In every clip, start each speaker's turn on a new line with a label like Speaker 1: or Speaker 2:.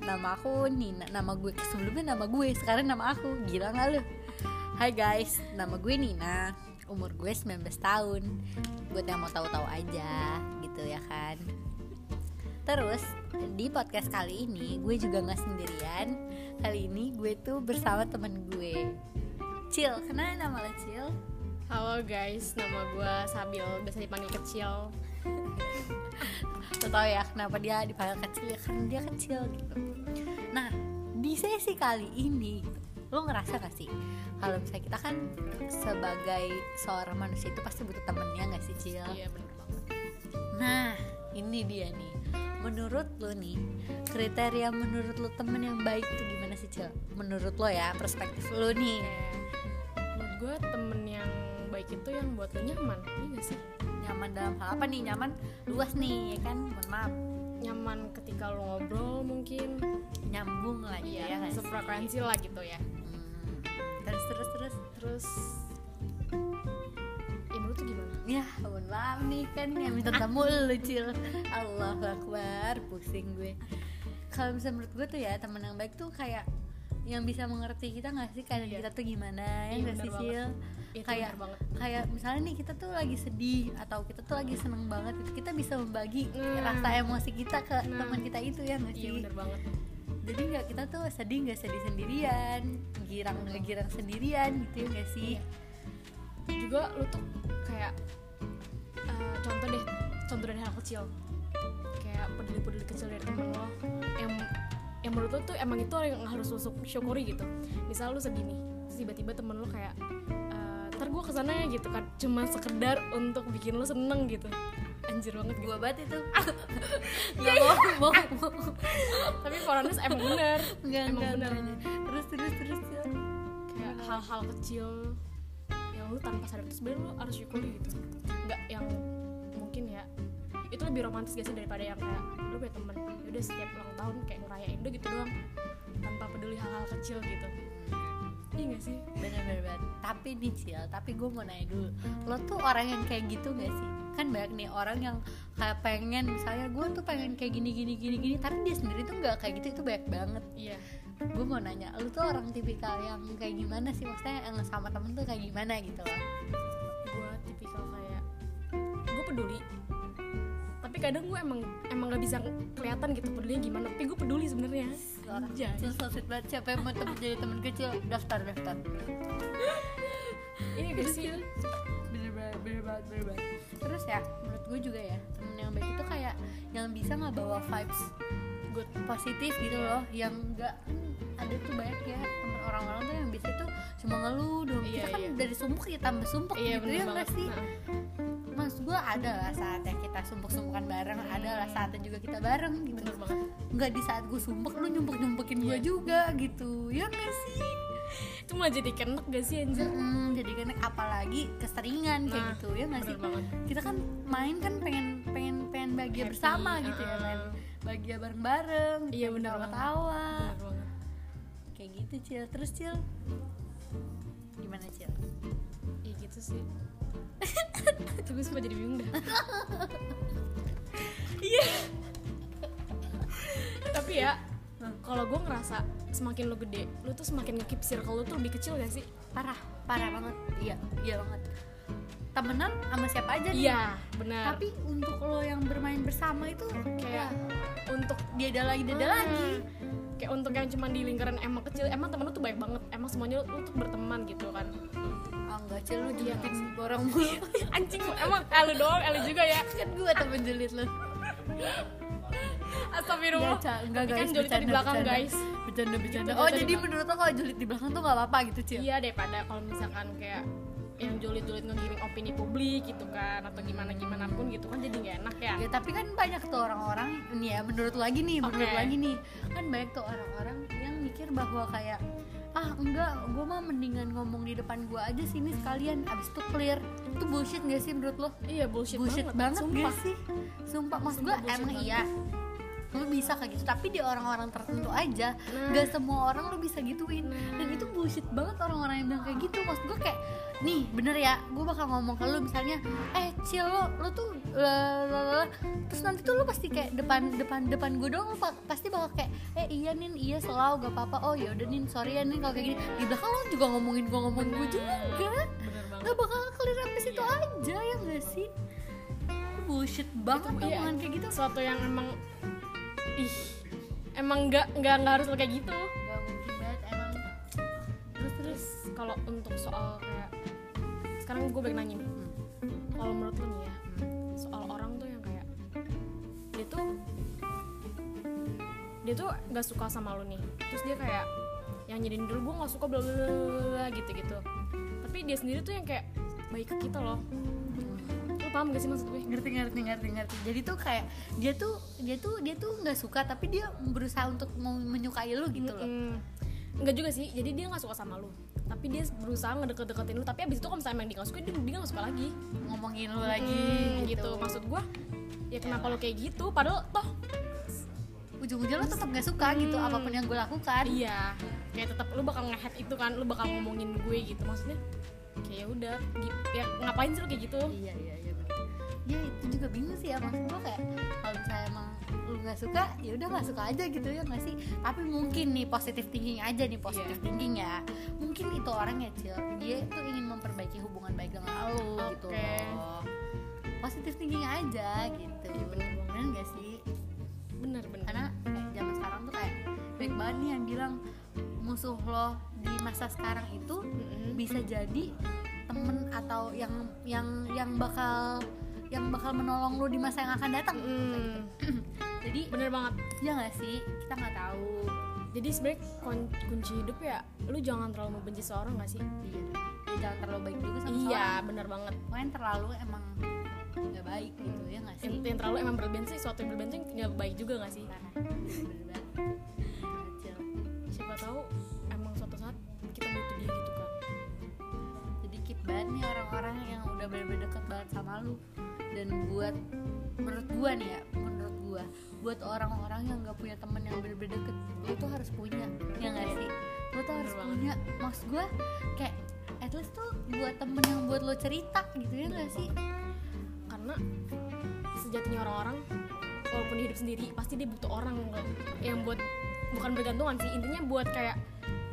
Speaker 1: nama aku Nina nama gue sebelumnya nama gue sekarang nama aku gila nggak lu Hai guys nama gue Nina umur gue 19 tahun buat yang mau tahu-tahu aja gitu ya kan Terus di podcast kali ini gue juga nggak sendirian. Kali ini gue tuh bersama temen gue. Cil, kenalin nama lo Cil.
Speaker 2: Halo guys, nama gue Sabil, biasa dipanggil kecil.
Speaker 1: Lo tau ya kenapa dia dipanggil kecil ya karena dia kecil gitu. Nah di sesi kali ini lo ngerasa gak sih kalau misalnya kita kan sebagai seorang manusia itu pasti butuh temennya gak sih Cil?
Speaker 2: Iya bener banget.
Speaker 1: Nah, ini dia nih. Menurut lo nih, kriteria menurut lo temen yang baik tuh gimana sih, Cil? Menurut lo ya, perspektif lo nih.
Speaker 2: Kayak, Menurut gue temen yang baik itu yang buat lo nyaman, iya gak sih?
Speaker 1: Nyaman dalam hal apa nih? Nyaman luas nih, ya kan? Mohon maaf.
Speaker 2: Nyaman ketika lo ngobrol mungkin,
Speaker 1: Nyambung lah gitu
Speaker 2: Iya.
Speaker 1: ya, nggak sih?
Speaker 2: sefrekuensi lah gitu ya.
Speaker 1: Hmm. Terus, terus, terus.
Speaker 2: Terus, ya menurut tuh gimana?
Speaker 1: Ya, mohon maaf nih kan yang minta tamu lo, Cil. Allah Akbar, pusing gue. Kalau misalnya menurut gue tuh ya, temen yang baik tuh kayak yang bisa mengerti kita gak sih kadang
Speaker 2: Iya.
Speaker 1: kita tuh gimana ya
Speaker 2: Iya,
Speaker 1: nggak
Speaker 2: bener
Speaker 1: sih
Speaker 2: banget.
Speaker 1: Cil
Speaker 2: Itu
Speaker 1: kayak
Speaker 2: bener banget.
Speaker 1: kayak misalnya nih kita tuh lagi sedih atau kita tuh lagi seneng banget gitu kita bisa membagi
Speaker 2: Nah.
Speaker 1: rasa emosi kita ke
Speaker 2: Nah.
Speaker 1: teman kita itu ya nggak
Speaker 2: Iya
Speaker 1: sih
Speaker 2: bener banget.
Speaker 1: jadi nggak kita tuh sedih nggak sedih sendirian girang nggak girang sendirian gitu ya nggak sih
Speaker 2: Iya. Juga lo tuh kayak eh, contoh deh, contoh dari hal kecil. Kayak peduli-peduli kecil dari temen lo yang yang menurut lo tuh emang itu yang harus lo syuk- syukuri gitu misal lo sedih nih terus tiba-tiba temen lo kayak "Eh, ntar gue kesana ya gitu kan cuma sekedar untuk bikin lo seneng gitu anjir banget gitu
Speaker 1: gua banget itu nggak bohong bohong bohong.
Speaker 2: tapi Foranus emang bener
Speaker 1: nggak
Speaker 2: emang
Speaker 1: nggak
Speaker 2: bener
Speaker 1: nggak. terus terus terus Cil.
Speaker 2: kayak hal-hal kecil yang lu tanpa sadar itu sebenarnya lu harus syukuri gitu nggak yang mungkin ya itu lebih romantis gak sih daripada yang kayak lu punya temen ya udah setiap ulang tahun kayak ngerayain udah gitu doang tanpa peduli hal-hal kecil gitu iya gak sih
Speaker 1: bener-bener banget tapi nih Cil tapi gue mau nanya dulu lo tuh orang yang kayak gitu gak sih kan banyak nih orang yang kayak pengen misalnya gue tuh pengen kayak gini gini gini gini tapi dia sendiri tuh nggak kayak gitu itu banyak banget
Speaker 2: iya
Speaker 1: gue mau nanya lo tuh orang tipikal yang kayak gimana sih maksudnya yang sama temen tuh kayak gimana gitu loh
Speaker 2: gue tipikal kayak gue peduli tapi kadang gue emang emang gak bisa kelihatan gitu pedulinya gimana tapi gue peduli sebenarnya
Speaker 1: Orang
Speaker 2: Anjay.
Speaker 1: Cil so sweet banget siapa yang mau temen jadi temen kecil daftar daftar
Speaker 2: iya gak sih
Speaker 1: bener banget bener banget bener banget terus ya menurut gue juga ya temen yang baik itu kayak yang bisa nggak bawa vibes
Speaker 2: good
Speaker 1: positif gitu loh yang enggak ada tuh banyak ya temen orang-orang tuh yang biasa tuh cuma ngeluh dong
Speaker 2: Iya,
Speaker 1: kita kan
Speaker 2: iya.
Speaker 1: dari sumpuk ya tambah sumpuk
Speaker 2: iya
Speaker 1: gitu ya
Speaker 2: bener
Speaker 1: nggak
Speaker 2: banget
Speaker 1: sih
Speaker 2: Nah,
Speaker 1: maksud gue ada lah saatnya kita sumpuk-sumpukan bareng ada lah saatnya juga kita bareng gitu
Speaker 2: Iya, bener banget
Speaker 1: nggak di saat gue sumpuk lu nyumpuk-nyumpukin gue
Speaker 2: Iya.
Speaker 1: juga gitu ya nggak sih
Speaker 2: itu malah jadi kenek gak sih anjir
Speaker 1: Mm, jadi kan apalagi keseringan kayak
Speaker 2: Nah,
Speaker 1: gitu ya nggak sih
Speaker 2: bener banget.
Speaker 1: kita kan main kan pengen pengen pengen bahagia
Speaker 2: Happy,
Speaker 1: bersama gitu ya
Speaker 2: uh-uh.
Speaker 1: kan bahagia bareng-bareng
Speaker 2: Iya, bener banget.
Speaker 1: ketawa
Speaker 2: Bener banget.
Speaker 1: kayak gitu cil terus cil gimana cil
Speaker 2: Iya gitu sih. Itu gue sempat jadi bingung dah. Iya. Tapi ya, kalau gue ngerasa semakin lo gede, lo tuh semakin nge-keep circle lo tuh lebih kecil gak sih?
Speaker 1: parah parah banget iya iya banget temenan sama siapa aja nih
Speaker 2: Iya, benar.
Speaker 1: tapi untuk lo yang bermain bersama itu
Speaker 2: kayak untuk Ah.
Speaker 1: dia ada lagi dia ada
Speaker 2: Hmm.
Speaker 1: lagi
Speaker 2: kayak untuk yang cuman di lingkaran emang kecil, emang temen lo tuh banyak banget, emang semuanya lo tuh berteman gitu kan.
Speaker 1: ah enggak cil lo
Speaker 2: Iya,
Speaker 1: julitin orang mulu
Speaker 2: Anjing, emang elu doang, elu juga ya.
Speaker 1: kan gue temen jelit lo
Speaker 2: Astagfirullah.
Speaker 1: Enggak, enggak
Speaker 2: Tapi
Speaker 1: Iya, guys
Speaker 2: kan jodoh di belakang, guys.
Speaker 1: bercanda bercanda
Speaker 2: Gitu,
Speaker 1: oh
Speaker 2: jodoh di
Speaker 1: jadi
Speaker 2: belakang.
Speaker 1: menurut lo kalau julid di belakang tuh gak apa-apa gitu cil
Speaker 2: Iya daripada kalau misalkan kayak yang julid-julid ngegiring opini publik gitu kan atau gimana gimana pun gitu kan jadi nggak enak ya.
Speaker 1: Ya tapi kan banyak tuh orang-orang nih ya menurut lagi nih, menurut
Speaker 2: Oke.
Speaker 1: lagi nih kan banyak tuh orang-orang yang mikir bahwa kayak ah enggak, gue mah mendingan ngomong di depan gue aja sini sekalian, abis itu clear itu bullshit gak sih menurut lo?
Speaker 2: Iya bullshit,
Speaker 1: bullshit banget,
Speaker 2: sumpah.
Speaker 1: gak sih? Sumpah, maksud gue
Speaker 2: Sumpah bullshit
Speaker 1: emang
Speaker 2: banget.
Speaker 1: iya lu bisa kayak gitu tapi di orang-orang tertentu aja
Speaker 2: Nah.
Speaker 1: gak semua orang lu bisa gituin dan itu bullshit banget orang-orang yang bilang kayak gitu maksud gue kayak nih bener ya gue bakal ngomong ke lu misalnya eh cil lo lo tuh lalalala." terus nanti tuh lu pasti kayak depan depan depan gue dong lu pa- pasti bakal kayak eh iya nin iya selalu gak apa-apa oh yaudah nin sorry ya nin kalau kayak gini di belakang lu juga ngomongin gue ngomongin gue juga enggak
Speaker 2: bener banget Iya.
Speaker 1: nggak bakal clear sampai situ aja ya nggak sih bullshit banget
Speaker 2: Itu, iya.
Speaker 1: omongan kayak gitu
Speaker 2: sesuatu yang emang ih emang nggak nggak nggak harus lo kayak gitu
Speaker 1: nggak mungkin banget emang
Speaker 2: terus terus kalau untuk soal kayak sekarang gue balik nanya nih kalau menurut lo nih ya soal orang tuh yang kayak dia tuh dia tuh nggak suka sama lo nih terus dia kayak yang jadiin dulu gue nggak suka bla bla bla, bla bla," gitu-gitu tapi dia sendiri tuh yang kayak baik ke kita loh lo paham gak sih maksud gue
Speaker 1: ngerti ngerti ngerti ngerti jadi tuh kayak dia tuh dia tuh dia tuh nggak suka tapi dia berusaha untuk mau menyukai lu gitu loh
Speaker 2: Mm-mm. Enggak juga sih, jadi dia gak suka sama lu Tapi dia berusaha ngedeket-deketin lu Tapi abis itu kalau misalnya emang dia gak suka, dia, dia gak suka lagi
Speaker 1: ngomongin lu lagi gitu,
Speaker 2: Mm, gitu. Maksud gue, ya kenapa lu kayak gitu Padahal toh,
Speaker 1: ujung-ujungnya lu tetap nggak suka gitu
Speaker 2: Hmm.
Speaker 1: apapun yang gue lakukan
Speaker 2: iya Kayak tetap lu bakal nge-head itu kan, lu bakal ngomongin gue gitu Maksudnya, kayak udah ya ngapain sih lu kayak gitu
Speaker 1: iya iya iya bener. ya itu juga bingung sih ya maksud gue kayak kalau misalnya emang lu nggak suka ya udah nggak suka aja gitu ya nggak sih tapi mungkin nih positif thinking aja nih positif
Speaker 2: Iya.
Speaker 1: thinking ya mungkin itu orangnya cil dia tuh ingin memperbaiki hubungan baik dengan lu gitu
Speaker 2: Oke.
Speaker 1: loh positif thinking aja gitu
Speaker 2: Iya, bener banget.
Speaker 1: bener nggak sih
Speaker 2: Bener, bener
Speaker 1: karena eh, zaman sekarang tuh kayak baik banget nih yang bilang musuh lo di masa sekarang itu
Speaker 2: Mm-mm.
Speaker 1: bisa jadi temen atau yang yang yang bakal yang bakal menolong lu di masa yang akan datang
Speaker 2: Mm,
Speaker 1: jadi
Speaker 2: Bener banget
Speaker 1: ya nggak sih kita nggak tahu
Speaker 2: Jadi sebenernya kun- kunci hidup ya Lu jangan terlalu membenci seorang gak sih?
Speaker 1: iya ya jangan terlalu baik juga sama
Speaker 2: Iya, bener banget
Speaker 1: seorang main terlalu emang nggak baik gitu ya nggak sih
Speaker 2: yang, yang terlalu emang berlebihan sih suatu yang berlebihan tuh nggak baik juga nggak sih
Speaker 1: Parah. Bener banget. Kacil.
Speaker 2: siapa tahu emang suatu saat kita butuh dia gitu kan
Speaker 1: jadi keep banget nih orang-orang yang udah bener-bener deket banget sama lu dan buat menurut gua nih ya menurut gua buat orang-orang yang nggak punya temen yang bener-bener deket lu tuh harus punya ya nggak sih lu tuh harus
Speaker 2: Bener banget.
Speaker 1: punya maksud gua kayak at least tuh buat temen yang buat lo cerita gitu ya nggak sih
Speaker 2: karena sejatinya orang-orang walaupun dia hidup sendiri pasti dia butuh orang loh yang buat bukan bergantungan sih intinya buat kayak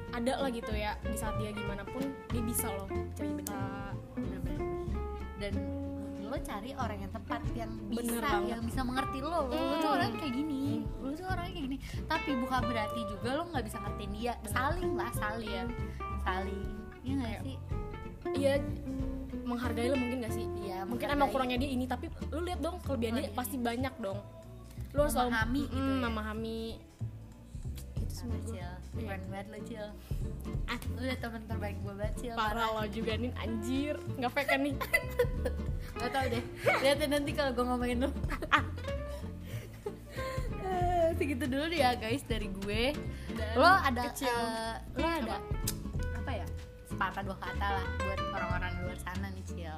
Speaker 2: ada lah gitu ya di saat dia gimana pun dia bisa loh cerita
Speaker 1: Bener-bener. dan lo cari orang yang tepat yang
Speaker 2: Bener
Speaker 1: bisa
Speaker 2: banget.
Speaker 1: yang bisa mengerti lo lo tuh
Speaker 2: Hmm.
Speaker 1: orang kayak gini lo tuh orang kayak gini tapi bukan berarti juga lo nggak bisa ngertiin dia saling lah saling saling Iya nggak
Speaker 2: Kayak-
Speaker 1: sih
Speaker 2: iya menghargai lo mungkin gak sih
Speaker 1: Iya,
Speaker 2: mungkin
Speaker 1: menghargai.
Speaker 2: emang kurangnya dia ini tapi lu lihat dong kelebihannya
Speaker 1: Kelebihannya.
Speaker 2: pasti banyak dong lu harus selalu-
Speaker 1: Memahami gitu
Speaker 2: Mm,
Speaker 1: ya.
Speaker 2: memahami itu
Speaker 1: sama
Speaker 2: semua
Speaker 1: Cil keren
Speaker 2: Iya.
Speaker 1: banget lo Cil
Speaker 2: Ah.
Speaker 1: lo udah temen terbaik gue banget Cil
Speaker 2: Parah lo juga nih anjir Gak fake kan nih
Speaker 1: gak tau deh liatin nanti kalau gue ngomongin lo Eh, segitu dulu ya guys dari gue
Speaker 2: Dan
Speaker 1: lo ada
Speaker 2: kecil.
Speaker 1: eh, lo ada apa ya sepatah dua kata lah buat orang-orang di luar sana nih Cil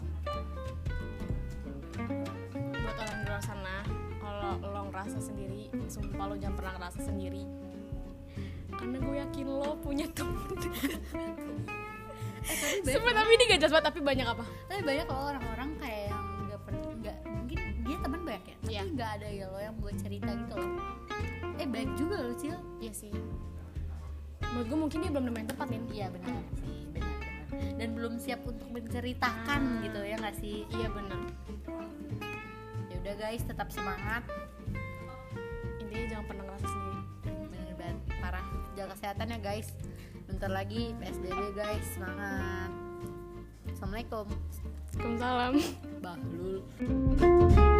Speaker 2: Buat orang di luar sana Kalau lo ngerasa sendiri Sumpah lo jangan pernah ngerasa sendiri Karena gue yakin lo punya temen Sumpah Eh, tapi ini gak jelas banget Tapi banyak apa
Speaker 1: tapi banyak loh orang-orang kayak yang nggak pernah nggak mungkin dia teman banyak ya tapi
Speaker 2: Iya.
Speaker 1: nggak ada ya lo yang buat cerita gitu loh eh baik juga lo Cil
Speaker 2: Iya sih Menurut gue mungkin dia belum nemuin tempat nih
Speaker 1: iya benar sih benar benar dan belum siap untuk menceritakan
Speaker 2: Ah.
Speaker 1: gitu ya nggak sih
Speaker 2: Iya benar
Speaker 1: ya udah guys tetap semangat
Speaker 2: Intinya jangan pernah ngerasa sendiri
Speaker 1: bener banget parah jaga kesehatan ya guys bentar lagi PSBB guys semangat assalamualaikum
Speaker 2: Assalamualaikum
Speaker 1: bahlul